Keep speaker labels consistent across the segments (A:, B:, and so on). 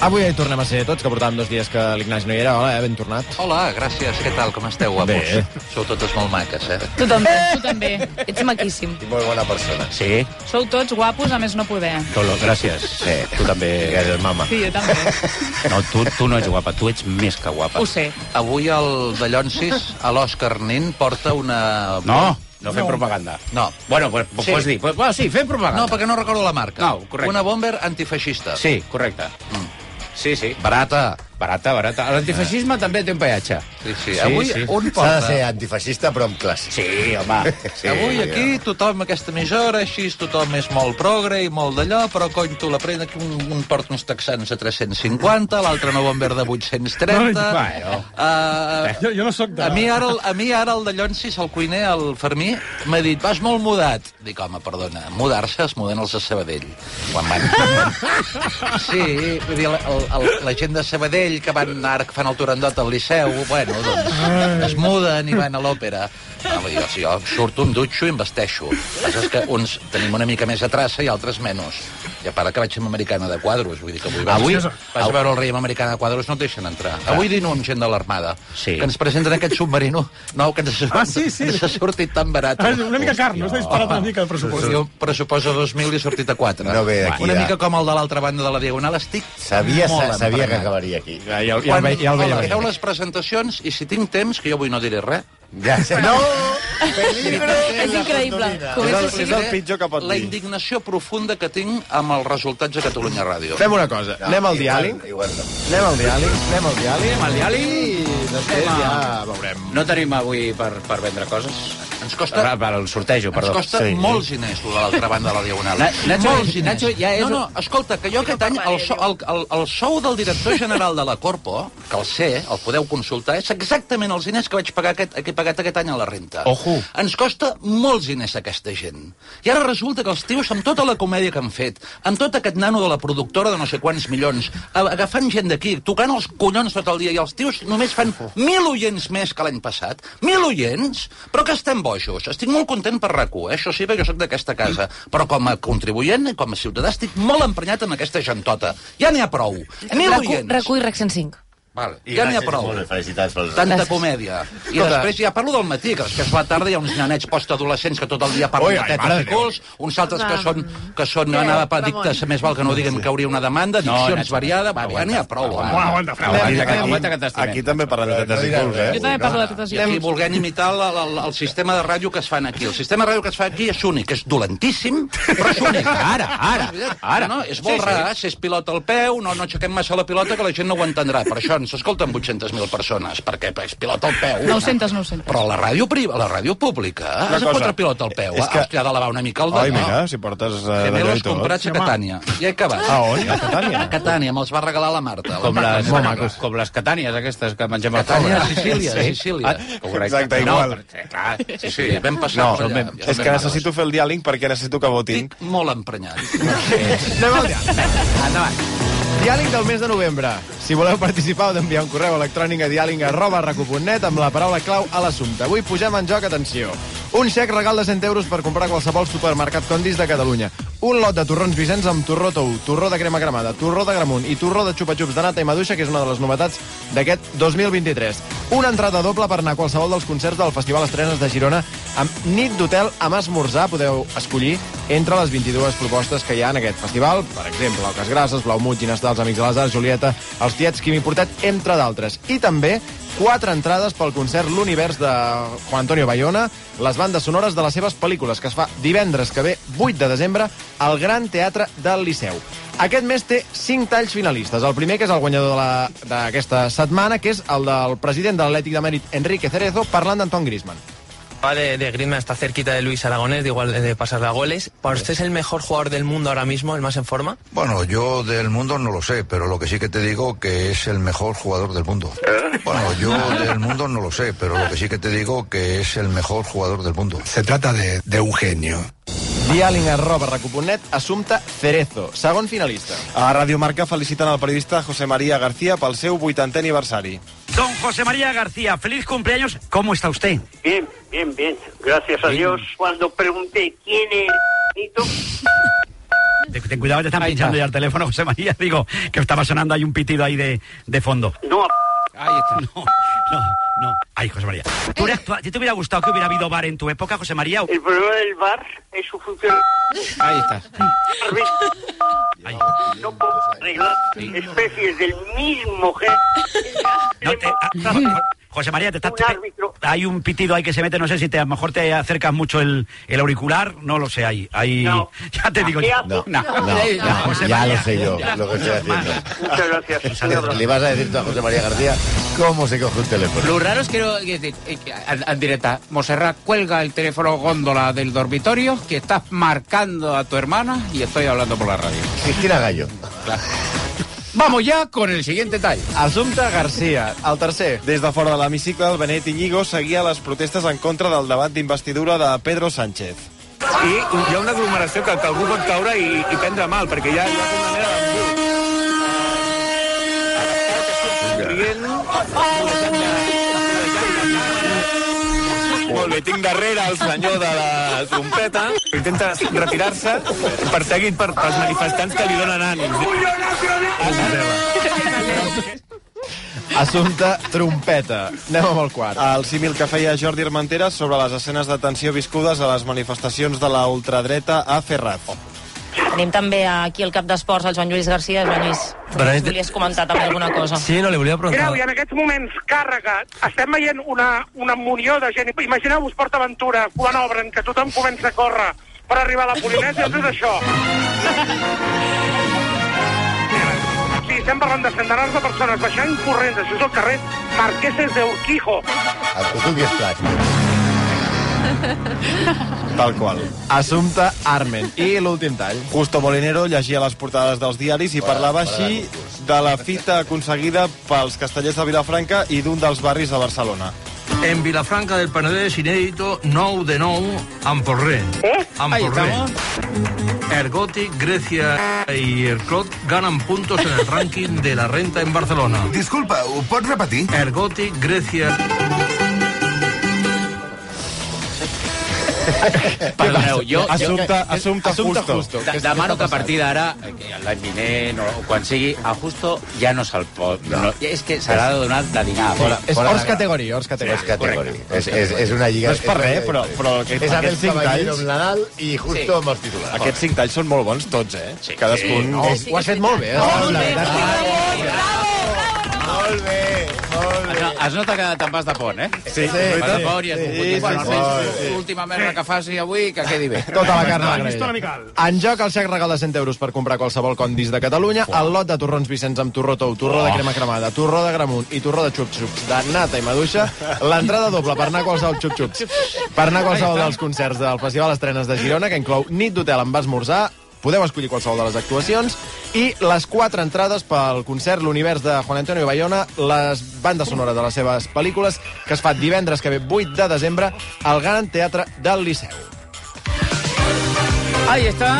A: Avui hi tornem a ser tots, que portàvem dos dies que l'Ignasi no hi era. Hola, eh? ben tornat.
B: Hola, gràcies, què tal, com esteu, guapos?
A: Bé.
B: Sou totes molt maques, eh?
C: Tu també, tu també. Ets maquíssim.
D: I molt bona persona.
A: Sí,
C: Sou tots guapos, a més no poder.
A: Tolo, gràcies. Sí. Tu també.
D: Gràcies, mama.
C: Sí, jo també.
E: No, tu, tu no ets guapa, tu ets més que
C: Ho
E: guapa.
C: sé.
B: Avui el Ballonsis, a l'Òscar Nin, porta una...
E: No, no fem propaganda.
B: No.
E: Bueno, pues,
B: Sí.
E: sí. pots dir. Pues, bueno, sí, fem propaganda.
B: No, perquè no recordo la marca.
E: No, correcte.
B: Una bomber antifeixista.
E: Sí, correcte. Mm. Sí, sí.
B: Barata.
E: Barata, barata. L'antifeixisme també té un peatge.
B: Sí, sí. Avui un
D: S'ha de
B: porta...
D: ser antifeixista, però amb classe.
E: Sí, home.
B: Sí, Avui aquí tothom, aquesta emissora, així, tothom és molt progre i molt d'allò, però cony, tu la pren aquí un, un porta uns texans a 350, l'altre no bomber de 830...
E: No, bueno.
B: eh,
F: Jo, jo no sóc de...
B: A mi ara, el, a mi ara el de Llonsis, el cuiner, el Fermí, m'ha dit, vas molt mudat. Dic, home, perdona, mudar-se es muden els de Sabadell. Quan van... Sí, vull dir, el, el, la gent de Sabadell que van ara que fan el Turandot al Liceu, bueno, doncs, es muden i van a l'òpera. No, vull dir, si jo surto, em dutxo i em vesteixo. El que passa és que uns tenim una mica més de traça i altres menys. I a part que vaig amb americana de quadros, vull dir que avui vas,
E: Avui- Ah.
B: vas a veure el rei amb americana de quadros, no et deixen entrar. Avui dino amb gent de l'armada,
E: Sí.
B: que ens presenten aquest submarino nou que ens,
F: Ah, sí, sí.
B: ens ha sortit tan barat.
F: Ah, Una mica car, no? S'ha disparat una mica el pressupost.
B: Jo pressuposo 2.000 i he sortit a 4.
D: No ve d'aquí,
B: Una
D: ja.
B: mica com el de l'altra banda de la Diagonal. Estic
D: Sabia,
B: molt
D: sa, sabia que
B: emprenat.
D: acabaria aquí.
A: Ja, ja, el- ja,
B: Quan,
A: el ve- ja el veia
D: eh.
B: hola,
A: venir.
B: feu les presentacions i si tinc temps, que jo avui no diré res.
D: Ja sé. No! Peligro!
C: És increïble.
A: És
C: Comença
A: el,
C: així.
A: és el pitjor que pot
B: La
A: dir.
B: indignació profunda que tinc amb els resultats de Catalunya Ràdio.
A: Fem una cosa, anem al diàleg,
D: Igual, igual no.
A: anem al diàleg, anem al diàleg, anem al diàleg, i després
E: Anem
A: ja
E: a-
A: veurem.
E: No tenim avui per, per vendre coses?
B: Ens
E: Per,
B: costa...
E: per el sortejo,
B: Ens
E: perdó.
B: costa sí. molts diners, lo de l'altra banda de la Diagonal.
E: Na- Nacho,
B: molts diners.
E: Nacho, ja és-
B: No, no, escolta, que jo aquest any el, so, el, el, el sou del director general de la Corpo, que el sé, el podeu consultar, és exactament els diners que vaig pagar aquest, que he pagat aquest any a la renta.
E: Ojo.
B: Ens costa molts diners aquesta gent. I ara resulta que els tios, amb tota la comèdia que han fet, amb tot aquest nano de la productora de no sé quants milions, a- agafant gent d'aquí, tocant els collons tot el dia, i els tios només fan mil oients més que l'any passat. Mil oients? Però que estem bojos. Estic molt content per rac eh? això sí, perquè jo sóc d'aquesta casa. Però com a contribuent, i com a ciutadà, estic molt emprenyat en aquesta gentota. Ja n'hi ha prou. Mil oients.
G: RAC1 i RAC 105.
B: Vale, ja n'hi ha prou
D: Molt bé, felicitats pel
B: tanta
G: Gràcies.
B: comèdia. I després ja parlo del matí, que després a la tarda hi ha uns nanets postadolescents que tot el dia
A: Ui,
B: parlen de
A: ai, mare
B: tetes i
A: de Déu.
B: culs, uns altres que són, que són analfabedictes, més val que no diguem que hauria una demanda,
E: No,
B: diccions
E: Nacho,
B: variada, va, ja n'hi ha prou. va.
F: Home, aguanta, Fran.
E: Aguanta,
F: aguanta,
E: que-
F: aguanta.
E: aguanta que t'estimem.
D: Aquí també parlen de tetes i culs, eh?
C: Jo també parlo de totes
B: I
C: les
B: aquí volguem imitar la, la, la, el sistema de ràdio que es fan aquí. El sistema de ràdio que es fa aquí és únic, és dolentíssim, però és únic.
E: Ara, ara, ara.
B: No, és molt sí, rar, si és pilota al peu, no, no aixequem massa la pilota, que la gent no ho entendrà. Per això ens escolten 800.000 persones, perquè és pilota al peu.
C: 900, 900.
B: Però la ràdio, priva, la ràdio pública, eh? has de
A: cosa.
B: fotre pilota al peu.
A: És
B: És
A: que-
B: que... Hòstia, ha de lavar una mica el
A: Oi,
B: dot,
A: mira, si portes eh, Ah, oh, d'allò i
B: Gemelos
A: tot.
B: comprats a Catània. Ja he acabat.
E: Ah,
A: A on? A
B: A
A: Catània?
B: Catània, me'ls va regalar la Marta. La
E: Com
B: Marta
E: les,
B: Serra.
E: com les catànies aquestes que mengem al
B: Catània,
E: pobre.
B: Sicília, Sicília.
E: Ah, correcte.
D: Exacte,
E: No,
D: igual.
E: perquè, clar,
B: Sí, sí,
E: Sicília.
B: vam passar
A: No,
B: per allà.
A: és que necessito fer el diàleg perquè necessito que votin.
B: Estic molt emprenyat.
A: Anem al diàleg. Endavant. Diàleg del mes de novembre. Si voleu participar, heu d'enviar un correu electrònic a diàleg arroba recu.net amb la paraula clau a l'assumpte. Avui posem en joc, atenció, un xec regal de 100 euros per comprar a qualsevol supermercat Condis de Catalunya, un lot de torrons Vicenç amb torró tou, torró de crema cremada, torró de gramunt i torró de xupa-xups de nata i maduixa, que és una de les novetats d'aquest 2023. Una entrada doble per anar a qualsevol dels concerts del Festival Estrenes de Girona amb nit d'hotel amb esmorzar. Podeu escollir entre les 22 propostes que hi ha en aquest festival. Per exemple, Oques Grasses, Blaumut, Ginestà, els Amics de les Arts, Julieta, els Tiets, Quimi Portet, entre d'altres. I també quatre entrades pel concert L'Univers de Juan Antonio Bayona, les bandes sonores de les seves pel·lícules, que es fa divendres que ve, 8 de desembre, al Gran Teatre del Liceu. Aquest mes té 5 talls finalistes. El primer, que és el guanyador de la- d'aquesta setmana, que és el del president de l'Atlètic de Mèrit, Enrique Cerezo, parlant d'Anton Griezmann.
H: Va de, de Griezmann está cerquita de Luis Aragonés, de igual de pasarle a goles. ¿Para usted es el mejor jugador del mundo ahora mismo, el más en forma?
I: Bueno, yo del mundo no lo sé, pero lo que sí que te digo que es el mejor jugador del mundo.
G: ¿Eh?
I: Bueno, yo del mundo no lo sé, pero lo que sí que te digo que es el mejor jugador del mundo. Se trata de, de un genio.
A: Dialing arroba recuponet, assumpte Cerezo, segon finalista.
D: A Radio Marca feliciten el periodista José María García pel seu 80è aniversari.
J: Don José María García, feliz cumpleaños. ¿Cómo está usted?
K: Bien, bien, bien. Gracias a Dios. Cuando pregunté quién es Benito,
J: Te- Ten cuidado, te están pinchando ya el teléfono, José María. Digo, que estaba sonando, hay un pitido ahí de, de fondo. No,
E: Ahí está.
J: no, no, no. Ay, José María. ¿Tú hubieras actua- ¿Te, te hubiera gustado que hubiera habido bar en tu época, José María?
G: El problema del bar es su función.
E: Ahí está.
J: Ay,
G: No puedo arreglar especies del mismo género.
J: no te- ah, ah, José María, te estás...
G: Un árbitro.
J: Hay un pitido ahí que se mete, no sé si te, a lo mejor te acercas mucho el, el auricular, no lo sé, ahí. ahí
G: No.
J: Ya te digo
G: ¿Qué
J: yo.
G: hago?
A: No, no, no, ya lo sé yo, lo que estoy haciendo.
G: Muchas gracias. Un abrazo.
A: Le vas a decir tú a José María García cómo se coge un teléfono.
E: Lo raro es que, no- que- que- que- en, en directa, Monserrat cuelga el teléfono góndola del dormitorio que estás marcando a tu hermana y estoy hablando por la radio.
A: Cristina Gallo.
E: Vamos ya con el siguiente tall.
A: Assumpta García, el tercer.
D: Des de fora de l'hemicicle, el Benet Iñigo seguia les protestes en contra del debat d'investidura de Pedro Sánchez.
K: I hi ha una aglomeració que, que algú pot caure i, i prendre mal, perquè hi ha, hi ha una manera de... Rient,
D: Molt bé, tinc darrere el senyor de la trompeta.
K: intenta retirar-se, perseguit per, pels manifestants que li donen ànims.
A: Assumpta Trompeta. Anem amb el quart.
D: El símil que feia Jordi Armentera sobre les escenes de tensió viscudes a les manifestacions de la ultradreta a Ferraz.
L: Tenim també aquí el cap d'esports, el Joan Lluís García. Joan Lluís,
H: Però és de-
L: volies comentar també alguna cosa.
H: Ah. Sí, no, le volví a preguntar.
K: Grau, i en aquests moments càrregat, estem veient una, una munió de gent. Imagineu-vos PortAventura, quan obren, que tothom comença a córrer per arribar a la Polinèsia, tot això. Sí, estem parlant de centenars de persones baixant corrents. Això és el carrer Marqueses de Urquijo.
A: A
F: Ah, pues
A: tu qui estàs.
D: Tal qual.
A: Assumpta Armen. I l'últim tall.
D: Justo Molinero llegia les portades dels diaris i parlava així de la fita aconseguida pels castellers de Vilafranca i d'un dels barris de Barcelona.
M: En Vilafranca del Penedès, inèdito, 9 de 9, Amporré.
K: Eh?
M: Amporré. El Gothic, Grecia y el Clot ganan puntos en el ranking de la renta en Barcelona.
I: Disculpa, ho pots repetir?
M: El Gothic, Grecia...
E: Perdoneu, jo, jo
D: Assumpte, assumpte,
A: Assumpta
D: justo.
A: Justo.
E: de- demano que a partir d'ara, eh, que l'any vinent o quan sigui, a Justo ja no se'l pot... No, és que s'ha de donar de dinar. Fora,
A: És
E: fora
A: Ors
E: de-
A: categoria, Ors
I: És
A: categoria.
I: categori. És, és, és una lliga...
D: No és per res, però, però aquest,
A: És
D: aquests
A: Abel
D: cinc
A: Caballero
D: talls...
A: amb Nadal i
E: Sí.
A: Justo amb els titulars.
D: Aquests cinc talls són molt bons tots, eh?
E: Sí.
D: Cadascun...
A: No, ho has fet Oh, molt bé. eh?
C: Molt bé,
A: La veritat. Molt bé, molt bé.
E: No, es nota que te'n vas de pont, eh?
A: Sí, sí,
E: Vas de pont i has
A: sí,
E: pogut
A: sí,
E: dir, bueno,
A: sí,
E: almenys
A: sí.
E: l'última merda que faci avui, que quedi bé.
A: Tota la carn a la
F: Llisto una
A: graella.
F: mica.
A: En joc el xec regal de 100 euros per comprar qualsevol condis de Catalunya, el lot de torrons Vicenç amb torró tou, torró de crema cremada, torró de gramunt i torró de xup-xups de nata i maduixa, l'entrada doble per anar a qualsevol xup-xups. Per anar a qualsevol dels concerts del Festival Estrenes de Girona, que inclou nit d'hotel amb esmorzar, podeu escollir qualsevol de les actuacions, i les quatre entrades pel concert L'univers de Juan Antonio Bayona, les bandes sonores de les seves pel·lícules, que es fa divendres que ve 8 de desembre al Gran Teatre del Liceu.
H: Ahí está.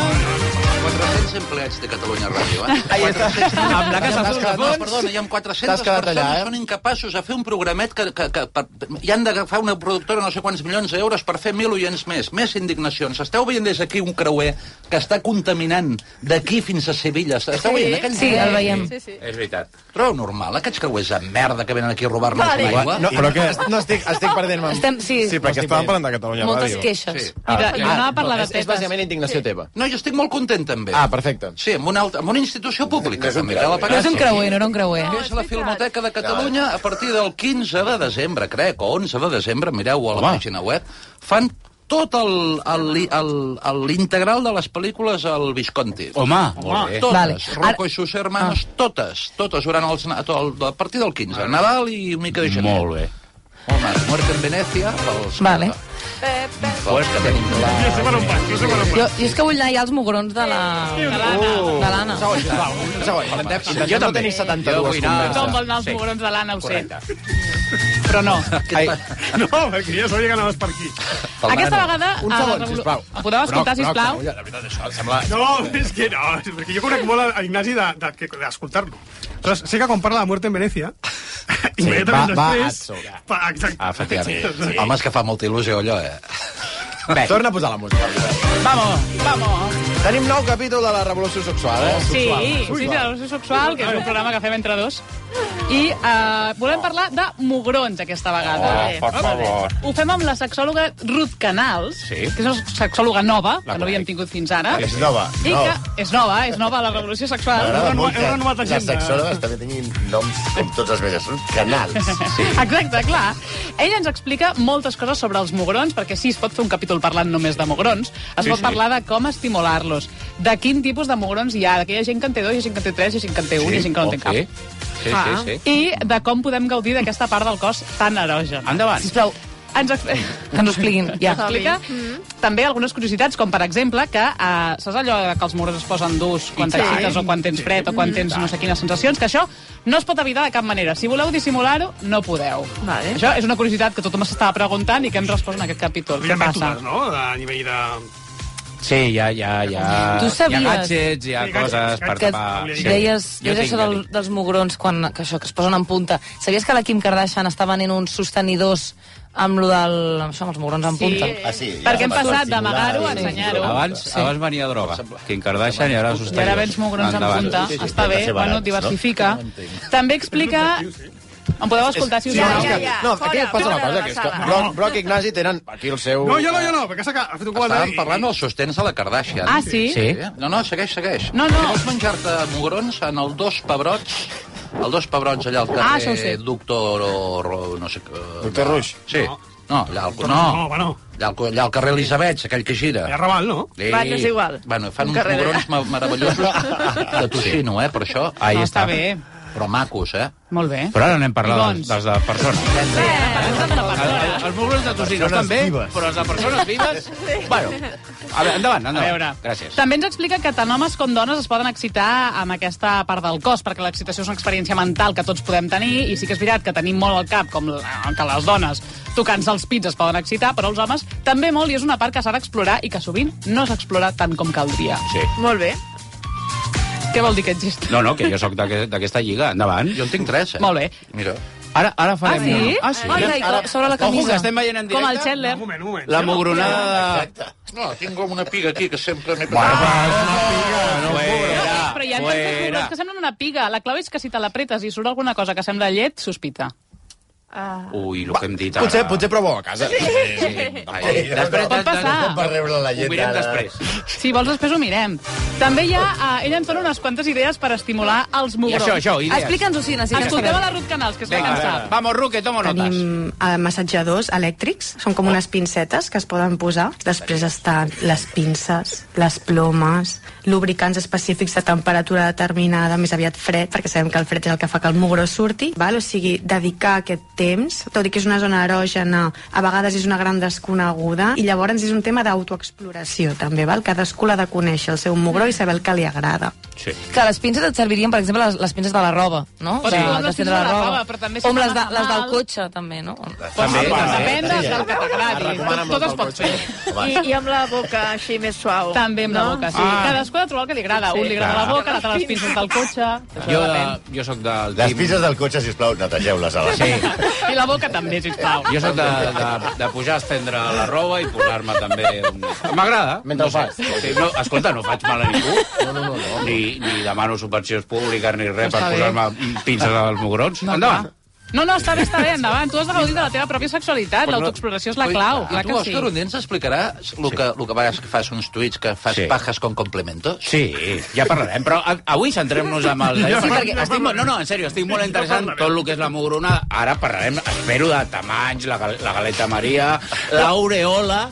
B: 400 empleats de Catalunya Ràdio, eh?
H: Ahí està. Amb la casa
A: T'has
H: azul de
A: quedat-
H: fons.
B: Perdona, hi ha 400
A: T'has quedat
B: persones
A: allà,
B: allà,
A: eh?
B: eh? són incapaços de fer un programet que, que, que per, i han d'agafar una productora no sé quants milions d'euros per fer mil oients més, més indignacions. Esteu veient des d'aquí un creuer que està contaminant d'aquí fins a Sevilla. Esteu veient aquell
C: Sí, el veiem.
L: Sí, sí.
E: És veritat.
B: Trobeu normal aquests creuers de merda que venen aquí a robar-nos
L: Vale.
B: l'aigua?
A: No, però què? No estic, estic perdent-me. amb-
L: Estem, sí,
D: Sí, perquè estàvem parlant de Catalunya
L: moltes
D: Ràdio.
L: queixes. Sí.
C: I, de, i
B: Ah,
C: anava per la de
A: És, és
C: tetes.
A: bàsicament indignació teva.
B: No, jo estic molt content, també.
A: Ah, perfecte.
B: Sí, amb una, altra, amb una institució pública, també. que la
C: No és
B: pagàssim.
C: un creuer, no era un creuer.
B: Eh, És la Filmoteca de Catalunya a partir del 15 de desembre, crec, o 11 de desembre, mireu a la pàgina web, fan tot el- el- el- el- l'integral de les pel·lícules al Visconti.
E: Home, molt bé.
B: Totes,
C: Vale. Ah.
B: Rocco i sus hermanos, totes, totes durant els, na- tot el- a partir del 15, Nadal i una mica de gener.
E: Molt bé.
B: Home, Muerte en Venècia, pels...
C: Vale.
B: Pels que tenim clar.
F: Jo sé per on vaig, jo sé per on
L: Jo, jo és que vull anar ja als mugrons de la... De l'Anna.
A: Un segon, sisplau, un segon. Intentem,
E: Jo
A: intentem no
E: també.
A: tenir
E: Jo
A: 72
E: vull anar-
C: Tothom
A: converses.
C: vol anar als
E: Sí.
C: mugrons de l'Anna, ho sé.
E: Correcte.
C: Però no.
A: Ai,
F: vaig. No, perquè ja sabia que anaves per aquí.
B: Pel
C: Aquesta
B: nano.
C: vegada...
A: un
C: a la
A: segon,
C: revolu-
A: sisplau.
C: Podeu escoltar,
A: Broc, broc,
C: sisplau?
A: broc, La veritat, això em sembla...
F: No, és que no, és perquè jo conec molt a a Ignasi de- de- que- d'escoltar-lo. De, Aleshores, sé que quan parla de Muerte en Venècia, immediatament
A: va- va
F: després...
A: a
F: Va, exacte.
E: Ah, efectivament.
B: Sí. Home, és que fa molta il·lusió, allò, eh?
E: Bé,
A: Torna a posar la música.
E: vamos, vamos.
A: Tenim nou capítol de la revolució sexual, eh?
C: Sí,
A: Sexual.
C: sí, sí, la Revolució Sexual, que és un programa que fem entre dos. I eh, volem parlar de mugrons aquesta vegada.
N: Oh, per
C: Hop.
N: favor.
C: Ho fem amb la sexòloga Ruth Canals,
N: Sí.
C: que és una sexòloga nova,
N: La
C: que no havíem tingut fins ara.
N: És nova,
C: I
N: nova.
C: que és nova, eh? és nova a la Revolució Sexual.
N: M'agrada
C: Heu
N: molt
C: renovat- heu renovat
N: que les
C: agenda.
N: sexòlogues també tinguin noms com tots els meus. Són canals.
C: Exacte, clar. Ella ens explica moltes coses sobre els mugrons, perquè sí, es pot fer un capítol parlant només de mugrons, es
N: Sí,
C: pot
N: sí.
C: parlar de com estimular-los, de quin tipus de mugrons hi ha, que hi ha gent que en té dos, hi ha gent que en té tres, hi ha gent que en té un, hi ha gent que no en té cap.
B: Sí, sí, sí.
C: I de com podem gaudir d'aquesta part del cos tan erogen. Endavant. Sisplau, ens ex... que ens ho expliquin,
L: ja.
C: Explica també algunes curiositats, com per exemple que eh, saps allò que els morons es posen durs quan
L: I
C: t'excites
L: tant.
C: o quan tens fred o quan tens no sé quines sensacions, que això no es pot evitar de cap manera. Si voleu dissimular-ho, no podeu. Vale. Això és una curiositat que tothom s'estava preguntant i que hem respost en aquest capítol.
F: Hi
C: Què
F: ha
C: passa?
F: mètodes, no?, a nivell de...
E: Sí, hi ha, hi ha, hi ha,
L: Tu sabies
E: hi ha gadgets, hi ha
F: Sí,
E: coses per
L: que
E: tapar... Sí.
L: deies,
E: Jo
L: deies
E: tinc
L: això del,
E: gadgets.
L: dels mugrons quan, que això que es posen en punta. Sabies que la Kim Kardashian està venent uns sostenidors amb lo del, amb això, amb els mugrons en
C: Sí.
L: punta?
C: Ah, sí, ja, Perquè hem per passat d'amagar-ho a ensenyar-ho.
E: Abans, sí. abans venia droga, Kim Kardashian, i ara
C: I
E: sostenibles.
C: ara vens mugrons en punta. Està bé, bueno, diversifica. També explica... Em podeu escoltar, si us
A: Sí,
C: plau?
A: és que- No, aquí passa una cosa, que és que Broc, Broc i Ignasi tenen aquí el seu...
F: No, jo no, jo no, perquè s'ha ha fet un
B: Estàvem
F: comentari...
B: parlant dels sostens de la Kardashian.
C: Ah, sí? Sí.
B: No, no, segueix, segueix.
C: No, no.
B: Si vols menjar-te mugrons en el dos pebrots, el dos pebrots allà al
C: Ah, això ho
B: carrer
C: sé.
B: ah, Doctor... O, o, no sé què...
A: Doctor Ruix?
B: Sí. No, allà al, no.
F: No, bueno.
B: Allà al, allà al carrer Elisabets, aquell que gira.
F: Allà a Raval, no?
N: Va, no és igual.
B: Bueno, fan
N: Un
B: uns
N: carrer de-
B: mugrons ma- meravellosos de tocino, eh, per això. Ahí
C: No, està bé.
B: Però macos, eh?
C: Molt bé.
E: Però ara anem a parlar
C: I
E: dels, dels de persones. Els mugrons de
C: Persones
E: tocino estan bé,
C: vives.
E: però els de persones vives... Bueno, a veure, endavant, endavant.
C: A veure.
E: Gràcies.
C: També ens explica que tant homes com dones es poden excitar amb aquesta part del cos, perquè l'excitació és una experiència mental que tots podem tenir, i sí que és veritat que tenim molt al cap, com la- que les dones tocant-se els pits es poden excitar, però els homes també molt, i és una part que s'ha d'explorar i que sovint no s'explora tant com caldria.
E: Sí.
C: Molt bé. Què vol dir aquest gest?
E: No, no, que jo sóc d'aquest- d'aquesta lliga. Endavant.
B: Jo en tinc tres, eh?
C: Molt bé.
B: Mira.
E: Ara, ara
C: Ah,
E: farem...
C: sí?
E: un-
C: Ai, ai,
E: Ara-
C: sobre la camisa.
E: Ojo, que estem veient en
C: Com el
E: directe.
C: Chandler.
E: La mogronada...
B: Exacte. No, tinc com una piga aquí que sempre m'he...
C: Però hi ha tantes figures que semblen una piga. La clau és que si te l'apretes i surt alguna cosa que sembla llet, sospita.
E: Ui, el que hem dit ara...
A: Potser, potser proveu a casa.
E: Ai, després,
C: Pot passar.
N: Per rebre la llet
E: Ho mirem
N: ara.
E: després.
C: Si vols, després ho mirem. També hi ha... eh, ella ens dona unes quantes idees per estimular els mugrons.
E: I això, això, idees.
L: Explica'ns-ho, sí, necessitem
C: Escolteu
L: saber.
C: a la Ruth Canals, que és la que
E: Vinga,
C: en sap.
E: vamos, Ruque, toma notes.
O: Tenim eh, massatjadors elèctrics, són com unes pincetes que es poden posar. Després estan les pinces, les plomes, lubricants específics de temperatura determinada, més aviat fred, perquè sabem que el fred és el que fa que el mugró surti. Val? O sigui, dedicar aquest temps, tot i que és una zona erògena, a vegades és una gran desconeguda, i llavors és un tema d'autoexploració, també, val? cadascú l'ha de conèixer, el seu mugró, i saber el que li agrada.
E: Sí.
L: Que les pinces et servirien, per exemple, les, les pinces de la roba, no?
C: Pots
L: de,
C: posar
L: de
C: les
L: fer
C: pinces de la roba, però també si
L: o amb les, de,
C: t'agrada
L: les del
C: mal.
L: cotxe, també, no?
N: També,
C: Depèn
N: també.
C: del que t'agradi. Tot, tot es pot fer.
P: I, I amb la boca així més suau.
C: També amb la boca, sí.
E: Ah.
C: Cadascú ha de trobar el que li agrada.
P: Sí.
C: Un li agrada la
P: Clar.
C: boca, l'altre les pinces del cotxe. Això
E: Jo,
C: depèn.
E: de, jo sóc del...
N: Les
E: team-
N: pizzas del cotxe, sisplau, netegeu-les a la
E: Sí.
C: I la boca també, sisplau.
E: Jo sóc de, de, de pujar a estendre la roba i posar-me també... Un... M'agrada.
A: Mentre
E: no
A: ho fas.
E: sé. Sí, no, escolta, no faig mal a ningú. No, no, no, no. Ni, ni demano subvencions públiques ni res per
C: Està bé.
E: posar-me pinces als mugrons. No, Endavant.
C: No, no, està bé, està bé, endavant. Tu has de gaudir de la teva pròpia sexualitat. L'autoexploració és la clau.
B: I
C: Clar
B: tu,
C: que sí.
B: Òscar Ondens, explicaràs el que, el que a vegades que fas uns tuits, que fas
E: Sí.
B: pajas con complementos?
E: Sí, ja parlarem, però a- avui centrem-nos amb el...
B: Sí,
E: perquè
B: perquè-
E: estic, molt- no, no, en sèrio, estic molt interessant tot el que és la mugrona. Ara parlarem, espero, de tamanys, la, gal- la galeta Maria, l'aureola,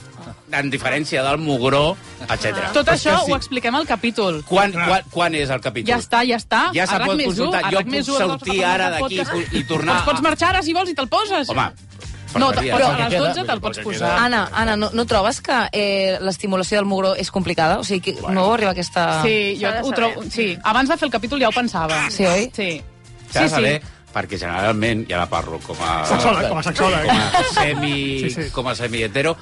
E: en diferència del mugró, etc.
C: Tot això ho expliquem al capítol.
E: Quan, quan, quan és el capítol?
C: Ja està, ja està.
E: Ja se
C: A RAC
E: pot
C: més u,
E: consultar.
C: a
E: Jo
C: RAC més doncs,
E: puc
C: u, els
E: sortir
C: podcasts,
E: ara
C: els
E: d'aquí
C: podcasts.
E: i- i tornar
C: Doncs pots
E: a-
C: marxar ara, si vols, i te'l poses.
E: Home,
C: No, te'l
E: faltaria.
C: pots,
E: Pel
C: a
E: que
C: les
E: queda,
C: 12 te'l pots posar.
L: Anna, Anna, no, no trobes que eh, l'estimulació del mugró és complicada? O sigui, que no arriba a aquesta...
C: Sí, jo ho trobo... Sí, abans de fer el capítol ja ho pensava.
L: Sí, oi?
C: Sí.
E: S'ha de
C: Sí,
E: saber,
C: sí.
E: perquè generalment, ja la parlo com a...
F: Sexòleg, com a sexòleg.
E: Com a semi... Sí, sí. Com a semi-hetero,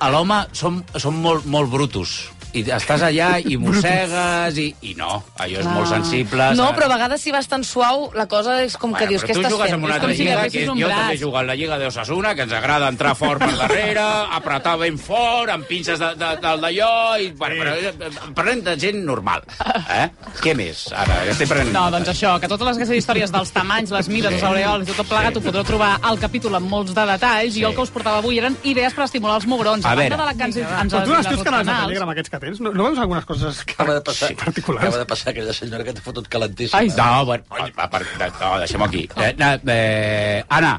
E: a l'home som, som molt, molt brutos. I estàs allà i mossegues i, i no, allò és molt sensible.
L: Ah. No,
E: s'ha-
L: però a vegades si vas tan suau, la cosa és com que dius, què
E: però tu
L: estàs
E: jugues
L: fent?
E: amb una altra lliga, que és, jo també jugo a la lliga de Osasuna, que ens agrada entrar fort per darrere, apretar ben fort, amb pinces de, de, del d'allò, i bueno, però, eh, parlem de gent normal. Eh? Què més? Ara, ja estic prenent...
C: No, doncs això, que totes les aquestes històries dels tamanys, les mides,
E: Sí.
C: els aureols i tot plegat ho podreu trobar al capítol amb molts de detalls i jo el que us portava avui eren idees per estimular els mugrons.
F: A
C: banda
F: veure.
C: de la que ens, ens
F: Però tu
C: les
F: les teus canals de Telegram aquests que tens, no, no veus algunes coses que...
B: Acaba de passar, acaba de passar aquella senyora que t'ha fotut calentíssima.
E: Ai, no, bueno, va, per, de- no, deixem aquí. Eh, na- eh, Anna,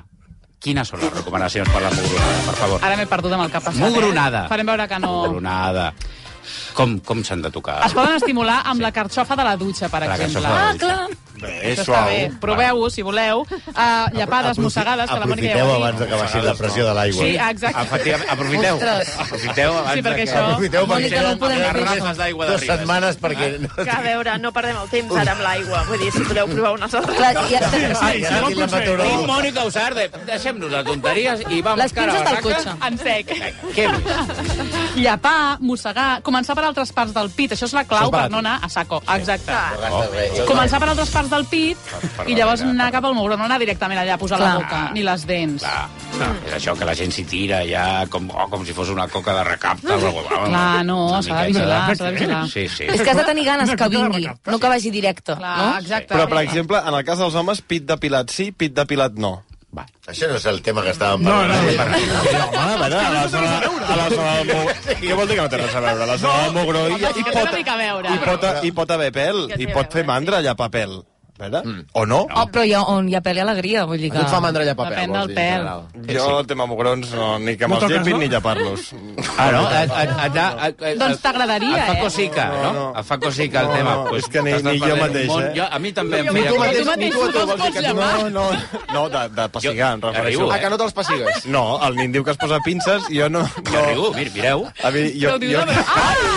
E: quines són les recomanacions per la mugronada, per favor?
C: Ara m'he perdut amb el que ha passat.
E: Mugronada.
C: Eh? Farem veure que no... Ah,
E: Mugronada. Com, com s'han de tocar?
C: Es poden estimular amb la carxofa de la dutxa, per
E: La
C: exemple.
E: carxofa
L: Ah,
E: de la
C: clar.
N: Bé,
C: Això està bé. Proveu-ho, si voleu. Uh, llepades, mossegades, que la Mònica ja
N: Aprofiteu
C: ho ha
N: abans
C: dit.
N: de que baixi la pressió de l'aigua.
C: Sí, exacte.
E: Efectivament, Ah, aprofiteu.
C: Ostres.
E: Aprofiteu abans
C: Sí, perquè
E: de
C: això-
N: Aprofiteu perquè
P: Mònica, no ho podem
N: les
P: fer.
N: garrafes
E: d'aigua
N: de
E: de
N: Ribes. Dues setmanes perquè...
F: Ah.
P: Que a veure, no perdem el temps ara amb l'aigua. Vull dir, si podeu provar unes altres
L: Clar,
P: coses.
L: ja estem-
N: Ai, ara tinc la meteoròloga.
E: I Mònica Usarde, deixem-nos de tonteries i vam
C: Les
E: cara a
C: pinces del
E: barraca.
C: cotxe. En sec.
E: Què més?
C: Llepar, mossegar, començar per altres parts del pit. Això és la
E: Això
C: clau
E: és barat.
C: per no anar a saco. Exacte.
E: Oh.
C: Començar per altres parts del pit
E: per
C: i
E: la
C: llavors
E: meitat.
C: anar cap al mugró, no anar directament allà a posar la
E: Clar.
C: boca, ni les dents.
E: Clar, clar, és això que la gent s'hi tira ja com, oh, com si fos una coca de recapte. Bla, bla, bla.
C: Clar, no,
E: Una
C: s'ha de
E: miqueta
C: vigilar, s'ha de vigilar.
E: Sí, sí.
L: És que has de tenir ganes que vingui, no que vagi directe.
C: Clar,
L: no?
C: exacte.
D: Però, per exemple, en el cas dels homes, pit depilat sí, pit depilat no.
N: Això no és el tema que estàvem parlant. No, no, no. Home, bueno, a la zona...
D: A la zona del Mou... Què vol dir que no té res a veure? A la zona del Mougró hi,
C: Home, sí
D: hi,
C: que té
D: pot,
C: una mica a veure.
D: hi, pot, hi pot haver pèl, i pot fer mandra allà papel. Veure? Mm. O no?
L: Oh, però hi ha, on hi ha pèl i alegria, vull dir que... Depèn del pèl.
D: Jo, el tema mugrons, no, ni que me'ls
E: toques,
D: llepin
E: no?
D: ni llepar-los.
E: Ah, no?
A: Eh,
E: Et, et, et, et, et,
C: Doncs t'agradaria,
E: Et fa
C: eh?
E: cosica, Ah, no?
D: No,
E: Et fa cosica el
D: No,
E: tema.
D: no,
E: Pues
D: és que ni-
E: t'estàs
D: ni jo
E: perdent un
D: mateix,
E: món.
D: eh?
E: Jo, a mi també em
D: Ni tu mateix,
N: ni tu, tu, vols dir que tu no-
D: No, no, no, de, de pessigar, em refereixo.
E: riu, eh? Ah, que
D: no te'ls pessigues? No, el nin diu que es posa pinces, jo no...
E: Que riu, mir, mireu.
D: A mi, jo... jo...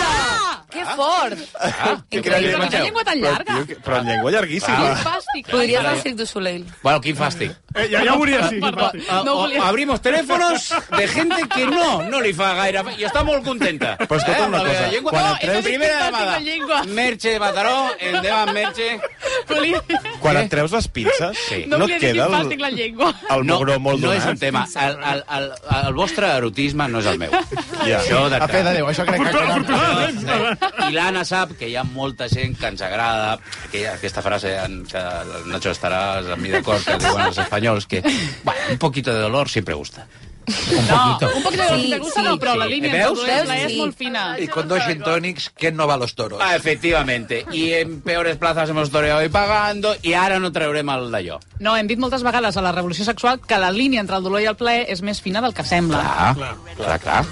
L: Que fort!
E: Ah,
L: Increïble. Però quina llengua tan llarga.
D: Però, però en llengua llarguíssima.
L: Fàstic. Podries anar al Cirque du Soleil.
E: Bueno, quin fàstic.
F: Eh, ja, ja volia sí, quin
E: Perdó,
F: fàstic.
E: eh,
L: No
E: o-
L: volia-
E: Abrimos teléfonos de gente que no, no li fa gaire... fa- I està molt contenta.
D: Però escolta una
E: amb la meva
D: cosa,
E: llengua-
D: quan
E: No,
D: entreu-
E: és primera
D: Fàstic
E: llamada. Merche de Mataró, endavant, Merche.
D: Quan et treus les pinces, no, et queda el,
C: la llengua.
D: el mugró molt
E: no
D: donat?
E: és un tema. El, el, el, el vostre erotisme no és el meu.
D: Ja.
E: Això de
A: A fe de Déu, això crec que...
E: I l'Anna sap que hi ha molta gent que ens agrada aquella, aquesta frase en que el Nacho estaràs amb mi d'acord que diuen els espanyols que bueno, un poquito de dolor sempre gusta.
C: No, un poc de dolor, si te gusta, no, però la
E: sí.
C: línia
E: Veus?
C: entre els dos
E: Veus?
C: és
E: Sí.
C: molt fina.
B: Y con dos gin tonics, ¿quién no va a los toros?
E: Ah, efectivamente. I en peores plazas hemos toreado y pagando i ara no traurem el d'allò.
C: No, hem dit moltes vegades a la revolució sexual que la línia entre el dolor i el plaer és més fina del que sembla.
E: Ah, clar, clar. clar.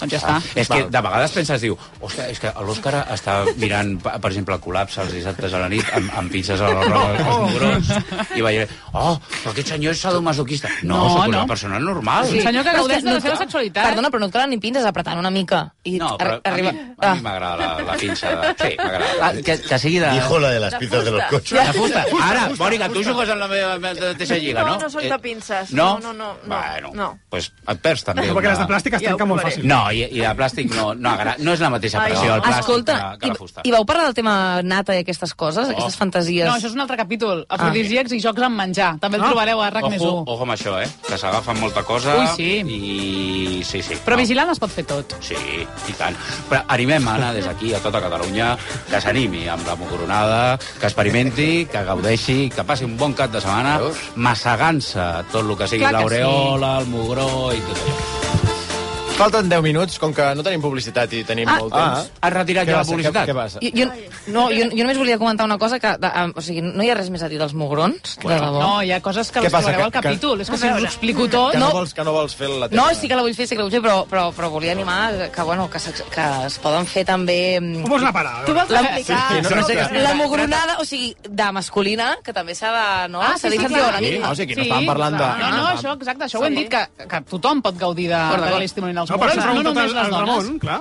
C: Doncs ja està.
E: És que de vegades penses, diu, hòstia, és que l'Òscar està mirant, pa- per exemple, el col·lapse els dissabtes a la nit amb, amb pinces a la roba dels mugrons i va dir, oh, però aquest senyor és sadomasoquista.
C: No,
E: No, no sóc una
C: no.
E: persona normal.
C: Sí. Senyor que
L: Però és
C: gaudeix de la
L: et
C: seva
L: cal-
C: sexualitat.
L: Perdona, però no et calen ni pintes apretant una mica. I
E: No, però a mi,
L: arriba...
E: a mi m'agrada la, la pinça. De... Sí, m'agrada. Que, que sigui de...
N: Dijo la de las pinzas de los coches.
E: De fusta. Ara, Mònica, tu jugues amb la meva mateixa lliga, no? Eh,
P: No, no soc de pinces.
E: no?
P: No, no, no. no.
E: Bueno.
P: no.
E: pues et perds també.
F: No, perquè les de plàstic es
P: Ja ho
F: trenquen molt
P: provaré.
F: fàcil.
E: No, i, i de plàstic no, no, agra... no és la mateixa
L: Ai,
E: pressió
L: no.
E: al plàstic
L: Escolta,
E: que, que la fusta.
L: I vau parlar del tema nata i aquestes coses, aquestes fantasies?
C: No, això és un altre capítol.
E: Ah.
C: Afrodisíacs i jocs amb menjar. També el trobareu a RAC més
E: ojo,
C: 1.
E: ojo amb això, eh? Que s'agafen molta cosa.
C: Ui, sí.
E: I... Sí, sí.
C: Però
E: no.
C: vigilant es pot fer tot.
E: Sí, i tant. Però animem, Anna, des d'aquí, a tota Catalunya, que s'animi amb la mocoronada, que experimenti, que gaudeixi, que passi un bon cap de setmana massegant-se tot el que sigui
C: Clar que
E: l'aureola, el mugró i tot allò.
A: Falten 10 minuts, com que no tenim publicitat i tenim
L: Ah.
A: molt temps.
E: Ah, has retirat
A: Què
E: ja la
A: passa?
E: publicitat?
A: Què, què passa?
L: Jo, jo, no, jo, jo només volia comentar una cosa que... De, ah, o sigui, no hi ha res més a dir dels mugrons, de debò.
C: No, hi ha coses que
A: Què
C: les
A: passa,
C: trobareu al
A: que- que-
C: capítol. És
L: A
C: que si us
L: veure.
C: ho explico tot...
A: Que no,
L: No.
A: vols, que no vols fer la teva...
L: No, sí que la vull fer, sí que la vull fer, però, però, però volia animar que, bueno, que, se, que es poden fer també...
F: Com vols anar a parar?
L: Tu vols
F: La-
L: explicar
A: Sí, sí, no, no sé què-
L: la mugronada, o sigui, de masculina, que també s'ha de... No?
C: Ah,
L: s'ha
C: sí, sí,
L: d'incentivar
C: clar.
L: una mica.
A: no, o sigui, no estàvem parlant de-
C: No, no, això, exacte, això ho hem dit, que, que tothom pot gaudir de, de l'estimulant els
F: No, per
C: morros,
F: això
C: no,
F: he preguntat
C: només
F: al-
C: les
F: al
C: dones.
F: Ramon, clar.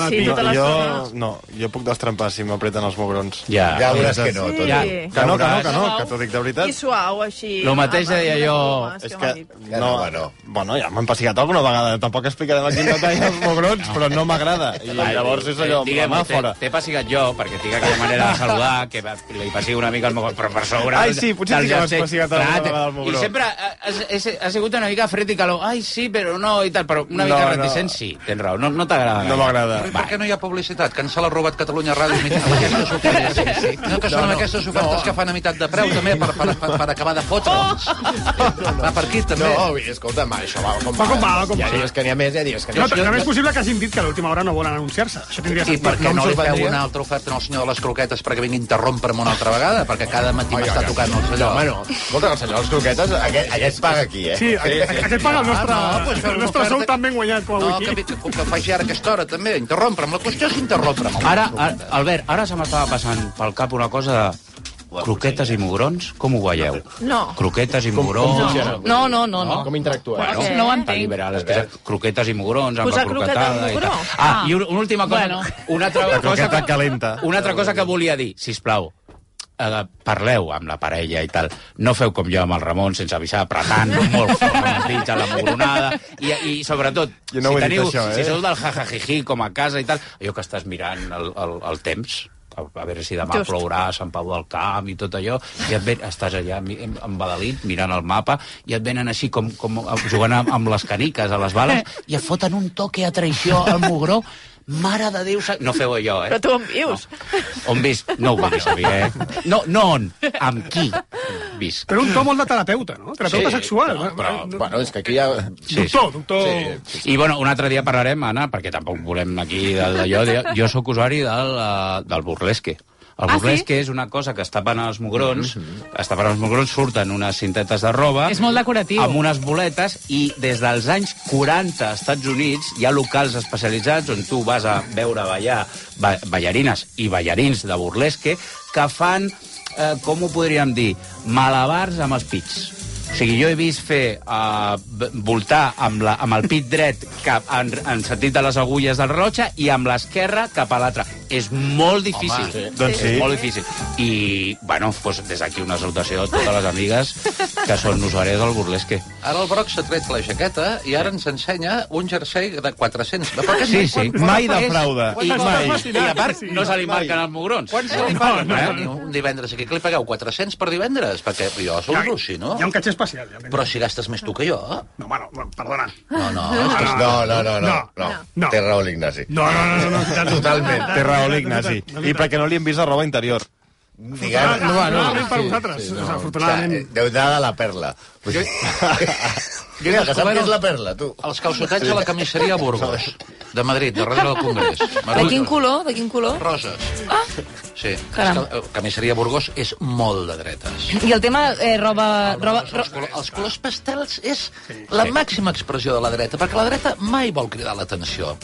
D: Ah,
C: Sí, totes les
D: jo,
C: dones.
D: no, jo puc destrempar si m'apreten els mugrons.
E: Ja.
N: Ja veuràs que no, tot.
D: Ja.
P: Sí.
D: Que no, que no, que no,
P: Suau.
D: que t'ho dic de
P: I
D: veritat.
P: suau, així.
D: Lo mateix
P: amb-
D: deia
P: amb
D: jo.
P: bromes
D: És
P: que
D: que
P: m'ha dit.
D: no, bueno, bueno ja m'han passigat alguna vegada, tampoc explicarem aquí en detall els mugrons, però no m'agrada. I llavors és allò,
E: Diguem,
D: mà fora.
E: T'he passigat jo, perquè tinc aquella manera de saludar, que va- li passi una mica el meu... Però per sobre...
D: Ai, sí, potser
E: del
D: sí que m'has
E: jersei.
D: passigat alguna
E: Clar,
D: vegada el mugró.
E: I sempre ha, ha, ha sigut una mica fred i calor. Ai, sí, però no, i tal. Però una mica
B: No, no.
E: reticent, sí. Tens raó, no, no t'agrada.
D: No m'agrada.
B: Per què no hi ha publicitat? Que ens l'ha robat Catalunya Ràdio i mitjan amb aquestes ofertes. Sí, sí. No, que són
E: No, no.
B: aquestes ofertes que fan a meitat de preu, també, per, per, per, per acabar de fotre'ls. Va per aquí, també.
N: No, escolta'm, això va com
F: Va com va, va com
N: ja
F: va.
N: dies que n'hi ha més, ja dies que n'hi
F: No,
N: ha més.
F: també és possible que hagin dit que a l'última hora no volen anunciar-se. Això tindria
B: I per què
F: em
B: no li feu
F: sorprendria.
B: una altra oferta al senyor de les croquetes perquè vingui a interrompre'm una altra vegada? Perquè cada matí m'està tocant el senyor.
N: Home, no. Escolta, el senyor de les croquetes, aquest, allà es paga aquí, eh?
F: Sí, aquest, aquest paga el nostre,
B: Ah, no, pues
F: el
B: fem
F: nostre
B: una
F: sou
B: oferta.
F: tan ben guanyat com
B: No,
F: avui
B: que,
F: aquí.
B: que, que ho faci ara a aquesta hora, també. Interrompre'm. La qüestió és interrompre'm.
E: Ara, ara, Albert, ara se m'estava passant pel cap una cosa de... Croquetes i mugrons, com ho veieu?
P: No.
E: Croquetes i mugrons...
L: No, no, no, no.
N: Com interactuar?
E: Bueno,
L: No ho entenc.
E: Liberal, és que és croquetes i mugrons, amb
L: Posar
E: la
L: croqueta
E: croquetada
L: al
E: i tal.
L: mugró.
E: Ah,
L: Ah.
E: i un- una última cosa,
L: Bueno.
E: una altra
D: La
E: cosa,
D: croqueta calenta.
E: una altra cosa que volia dir, si us plau. Uh, parleu amb la parella i tal. No feu com jo amb el Ramon, sense avisar, apretant molt fort amb els dits a la mugronada. I, i sobretot,
D: Jo no ho he
E: si,
D: dit,
E: teniu,
D: això, eh?
E: si sou del jajajiji com a casa i tal, allò que estàs mirant el, el, el temps, a, a veure si demà
P: Just.
E: plourà a Sant Pau del Camp i tot allò, i et ven, estàs allà mi- em- embadalit mirant el mapa i et venen així com, com eh, jugant amb, amb les caniques, a les bales, i et foten un toque a traïció al mugró. Mare de Déu... sa- No feu allò, eh?
P: Però tu on vius?
E: On visc? No ho vull saber, eh? No, no on, amb qui visc.
F: Però un to molt de terapeuta, no? Terapeuta
E: Sí,
F: sexual.
E: però-
F: no?
E: però-
N: Bueno, és que aquí hi ha...
E: Sí, sí.
F: Doctor, doctor...
E: I, bueno, un altre dia parlarem, Anna, perquè tampoc volem aquí del- d'allò. De, jo sóc usuari del, eh, del burlesque. El
C: Ah,
E: burlesque és una cosa que es tapen als mugrons, es tapen als mugrons, surten unes cintetes de roba...
C: És molt decoratiu.
E: Amb unes boletes i des dels anys 40 als Estats Units hi ha locals especialitzats on tu vas a veure ballar ba ballarines i ballarins de burlesque que fan, eh, com ho podríem dir, malabars amb els pits. O sigui, jo he vist fer eh, b- voltar amb, la, amb el pit dret cap en, en sentit de les agulles del rellotge i amb l'esquerra cap a l'altra. És molt difícil.
D: Home, sí. Doncs sí.
E: És molt difícil. I, bueno, doncs des d'aquí una salutació a totes les amigues que són usuàries del burlesque.
B: Ara el Broc s'ha tret la jaqueta i ara ens ensenya un jersei de 400. De poques
E: Sí, sí.
D: Mai defrauda.
B: I,
D: Mai.
B: I a part,
E: No se li marquen els mugrons.
B: quants se li paguen? eh? Un divendres aquí, que li pagueu 400 per divendres? Perquè jo sou
F: Hi ha-
B: russi, no?
F: Hi ha un catxer especial. hi ha un catxer-
B: Però si gastes més tu que jo.
F: No, bueno, perdona.
B: No, no.
N: No, no, no, no.
F: No.
N: no.
F: No.
N: Té raó l'Ignasi.
F: No, no, no, no, no, i tant.
N: Totalment.
D: Té raó l'Ignasi. I perquè no li hem vist la roba interior.
N: Diguem,
F: No, no, no, no, per vosaltres, desafortunadament.
N: Està, eh, Déu dada la perla. Jo... Mira, que sap
B: descobert
N: què és
B: el-
N: la perla, tu.
B: Els calçotets a la camisseria Burgos, de Madrid, darrere del Congrés.
L: De quin color? De quin color?
B: Roses. Sí.
L: Caram.
B: És que, eh, Camisseria Burgos és molt de dretes.
L: I el tema eh, roba... roba, roba
B: Els, col els colors pastels és la màxima expressió de la dreta, perquè la dreta mai vol cridar l'atenció.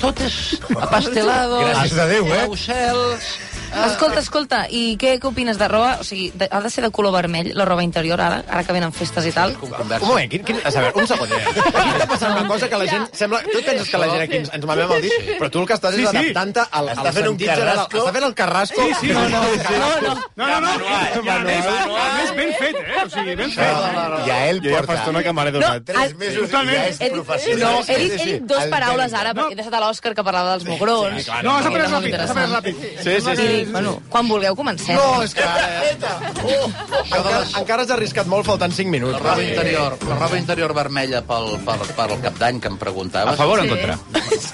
B: Tot és apastelado,
N: Gràcies a Déu, eh?
B: Aucels...
L: Escolta, escolta, i què, què opines de roba? O sigui, de, ha de ser de color vermell la roba interior ara, ara que venen festes i tal?
B: Conversa.
N: Un moment, quin, quin, a saber, un segon. eh? Aquí està passant una cosa que la gent... Sembla, tu et penses que la gent aquí ens, ens mamem el dit, però tu el que estàs
F: Sí,
N: és
F: sí.
N: adaptant-te al, Està al fent un sentit general. carrasco.
A: Està fent el carrasco.
F: Sí, sí,
A: No, no,
F: no, no, no, no,
N: Manual,
F: ja, més,
N: manual.
F: a més ben fet, eh? O sigui, ben fet.
N: Això, ja ell
D: Jo ja fa
N: porta...
D: estona que me n'he
L: No,
D: donat.
N: Tres
L: al-
N: mesos i
F: Totalment.
N: ja és
L: He dit, no,
N: professional.
L: he dit, he dit dos
N: El
L: paraules
N: tècnic.
L: ara, perquè he deixat a l'Òscar que parlava dels mugrons.
N: clar,
F: No,
N: no,
F: has
N: no,
F: après
L: no,
F: ràpid, has après
L: interessant.
F: ràpid.
D: Sí, sí,
L: I
D: sí.
L: dic, bueno, eh. quan vulgueu comencem.
A: No, és que...
N: eh. Oh,
A: Encara, encara has arriscat molt faltant 5
B: La
A: minuts.
B: roba interior, la roba interior vermella pel, per, per el cap d'any que em preguntaves.
E: A favor o en contra?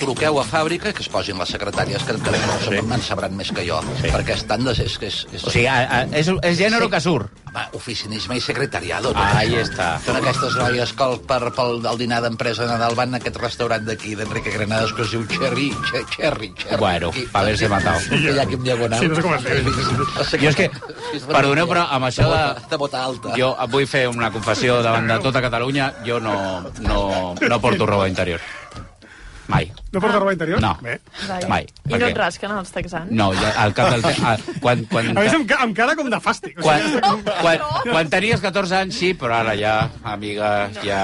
B: Truqueu a fàbrica que es posin les secretàries que, que sí. en sabran més que jo. Sí. Perquè estan de... doncs, És, és, és,
E: O sigui, a, a, és, és gènere
B: Sí.
E: que surt.
B: Va, oficinisme i secretariado. No?
E: Ahí està.
B: Són aquestes noies que el, per, pel del dinar d'empresa de Nadal van a aquest restaurant d'aquí, d'Enrique Granados, que es diu Cherry, che, Cherry, Cherry.
E: Bueno, pa haver-se matado.
B: Sí, allà aquí en diagonal.
F: Sí, no sé com es diu.
E: Jo és que, perdoneu, però amb això de...
B: De bota alta.
E: Jo et vull fer una confessió davant de tota Catalunya. Jo no, no, no porto roba interior. Mai.
F: No porta roba interior?
E: No.
F: Bé.
P: Vaja.
E: Mai.
P: I no
E: Per què?
P: et rasquen els texans?
E: No, ja, al cap del... te- ah, Quan, quan,
F: A més, amb, ca- amb cara com de fàstic.
E: quan,
F: O sigui,
E: quan, quan, quan tenies 14 anys, sí, però ara ja, amiga, ja...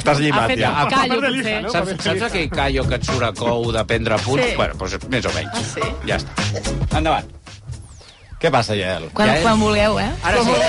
D: Estàs llimat, Ha fet ja.
C: un callo, potser.
E: Saps, saps aquell callo que et surt a cou de prendre punts?
C: Sí.
E: Bueno, doncs més o menys.
P: Ah, sí?
E: Ja està. Endavant. Què passa, Yael?
L: Quan,
E: ja
L: quan vulgueu, eh?
E: Ahora sí.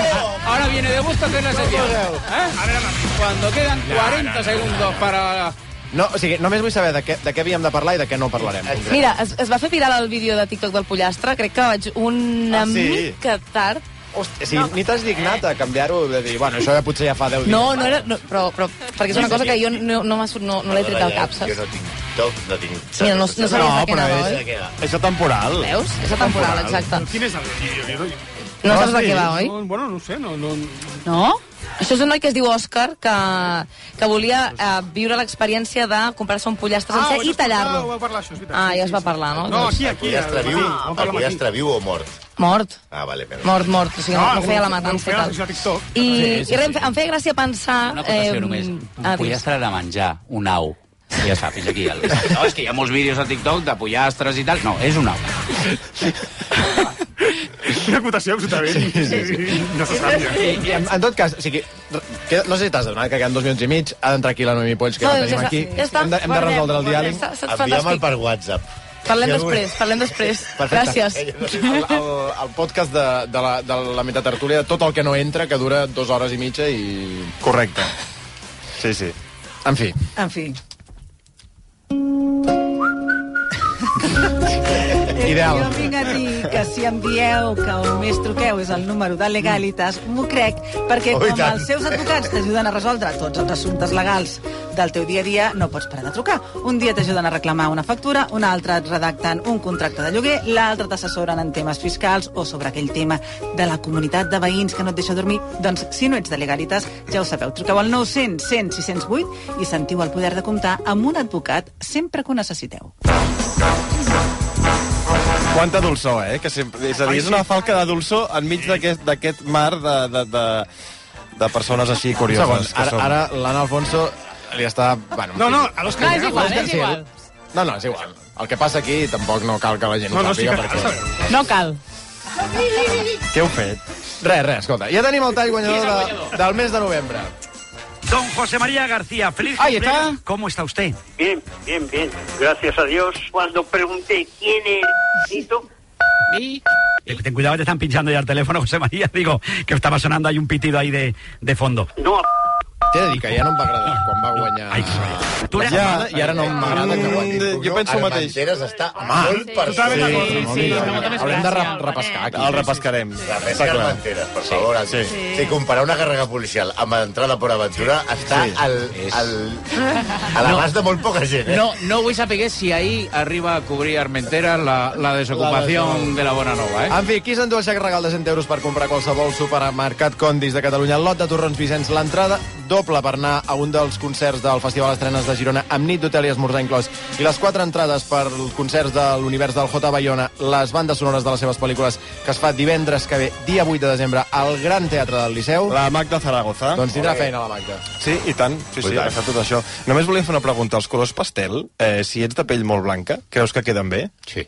E: Ahora viene de gusto hacer la serie. Cuando quedan 40 segundos para...
A: No, o sigui, només vull saber de què, de què havíem de parlar i de què no parlarem.
L: Mira, es, es va fer viral el vídeo de TikTok del pollastre. Crec que vaig una
A: Ah, sí?
L: mica tard.
A: Hòstia, si no. ni t'has dignat a canviar-ho, de dir, bueno, això ja potser ja fa 10 dies.
L: No, no era... No, però, però, perquè és una cosa que jo no, no, m'ha sor- no, no l'he tret al cap, saps?
N: tinc toc, no tinc...
L: Mira, no- no sabia eh? de què anava, oi?
D: És atemporal.
L: Veus? És atemporal, exacte.
F: Quin és el vídeo? Jo-
L: No saps de què va, oi?
F: No, bueno, no ho sé, no... no...
L: No? Això és un noi que es diu Òscar, que, que volia eh, viure l'experiència de comprar-se un
F: Ah,
L: pollastre sencer
F: ho vaig
L: i
F: escoltar, ho
L: tallar-lo.
F: vau parlar, això, és veritat.
L: Ah, ja es va parlar, no?
F: No,
L: Doncs
F: aquí, aquí.
N: Pollastre
F: al
N: viu,
F: matí,
N: el
F: vam parlar al matí.
N: pollastre viu o mort?
L: Mort.
N: Ah, vale, però...
L: Mort, mort. O sigui,
F: Ah,
L: no, no feia la matança i tal. I,
E: Sí, sí,
L: i res, em fe- em feia gràcia pensar...
E: Una acotació només. Un
L: ah, digues.
E: pollastre era menjar, un au. Ja està, fins aquí. El... No, és que hi ha molts vídeos a TikTok de pollastres i tal. No, és un au.
F: Quina acotació, absolutament. Sí, sí, sí. Necessària.
A: I, en, en tot cas, o sigui, re- que, no sé si t'has adonat que queden dos minuts i mig, ha d'entrar aquí la Noemi Polls, que
L: No,
A: no, la
L: ja
A: tenim
L: està,
A: aquí.
L: ja està.
A: hem de, hem de
L: Parlem,
A: resoldre el
L: parlem.
A: diàleg.
L: Està- està
N: Enviem-el
L: fantàstic.
N: per WhatsApp.
L: Parlem
N: Si algú-
L: després, parlem després. Gràcies.
A: Eh, El, el, el podcast de, de, la, de la metatartúlia, tot el que no entra, que dura dues hores i mitja i...
D: Correcte. Sí, sí.
A: En fi.
L: En fi. Eh,
A: Ideal.
Q: Eh, Jo vinc a dir que si em dieu que on més truqueu és el número de Legalitas, m'ho crec, perquè
N: Oh, i
Q: com
N: tant.
Q: els seus advocats t'ajuden a resoldre tots els assumptes legals del teu dia a dia, no pots parar de trucar. Un dia t'ajuden a reclamar una factura, un altre et redacten un contracte de lloguer, l'altre t'assessoren en temes fiscals o sobre aquell tema de la comunitat de veïns que no et deixa dormir. Doncs si no ets de Legalitas, ja ho sabeu, truqueu al 900 100 608 i sentiu el poder de comptar amb un advocat sempre que ho necessiteu.
D: Quanta dolçor, eh? Que sempre, és a dir, és una falca de dolçor enmig d'aquest- d'aquest mar de, de, de, de persones així
A: Un segon,
D: curioses. que
A: ara,
D: som.
A: ara l'Anna Alfonso li està... Bueno,
F: No, no, a l'Òscar.
C: No, és igual, és igual.
A: No, no, és igual. El que passa aquí tampoc no cal que la gent
F: No,
A: ho
F: no, sí
A: sàpiga,
F: que cal
A: perquè...
C: No cal.
A: Què heu fet? Res, res, escolta. Ja tenim el tall guanyador, de, del mes de novembre.
J: Don José María García, feliz
G: Ahí
J: cumpleaños.
G: está.
J: ¿Cómo está usted?
G: Bien, bien, bien. Gracias a Dios. Cuando pregunté quién es Tito,
J: Ten ten cuidado que te están pinchando ya el teléfono, José María. Digo, que estaba sonando ahí un pitido ahí de, de fondo.
G: no,
A: T'he de dir que ja no em va agradar quan va guanyar... Ai,
J: Tu eres
A: ja, I ara no m'agrada que guanyi.
D: Mm, jo penso el
N: Ara
D: mateix.
N: Banderas està
A: Home,
N: molt per
A: sí,
N: sobre.
A: sí, sí, sí, haurem de re repescar aquí.
D: El repescarem.
N: La pesca
D: clar.
N: Armenteres, per favor. Sí. Si comparar una càrrega policial amb l'entrada per aventura està
E: Sí.
N: al,
E: És-
N: al, a l'abast de molt poca gent, eh?
E: No, no vull saber si ahir arriba a cobrir Armentera la, la desocupació de la Bona Nova, eh?
A: En fi, qui s'endú el xec regal de 100 euros per comprar qualsevol supermercat Condis de Catalunya? El lot de Torrons Vicenç, l'entrada doble per anar a un dels concerts del Festival Estrenes de Girona amb nit d'hotel i esmorzar inclòs. I les quatre entrades per concerts de l'univers del J. Bayona, les bandes sonores de les seves pel·lícules, que es fa divendres que ve, dia 8 de desembre, al Gran Teatre del Liceu.
D: La Magda Zaragoza.
A: Doncs tindrà feina la Magda.
D: Sí, i tant. Sí, sí,
N: Ui, tant.
D: ha estat tot això. Només volia fer una pregunta. Els colors pastel, eh, si ets de pell molt blanca, creus que queden bé?
E: Sí.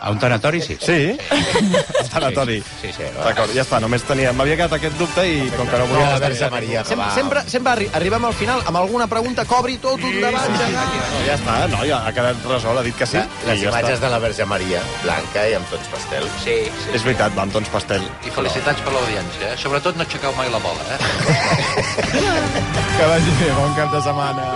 E: A un tanatori, sí.
D: Sí? Tanatori.
E: Sí, sí.
D: D'acord, ja està, només tenia... M'havia quedat aquest dubte i com que no volia...
N: No, Verge Maria,
A: Sem
N: va.
A: sempre sempre arri arribem al final amb alguna pregunta que obri tot un debat. gegant.
D: No, ja està, no, ja ha quedat resolt, ha dit que sí.
N: Les
D: i ja
N: imatges
D: està.
N: de la Verge Maria, blanca i amb tots pastels.
B: Sí, sí.
D: És veritat, va, amb tons pastel.
B: I felicitats per l'audiència. Eh? Sobretot no aixequeu mai la bola, eh?
A: Que vagi bé, bon cap de setmana.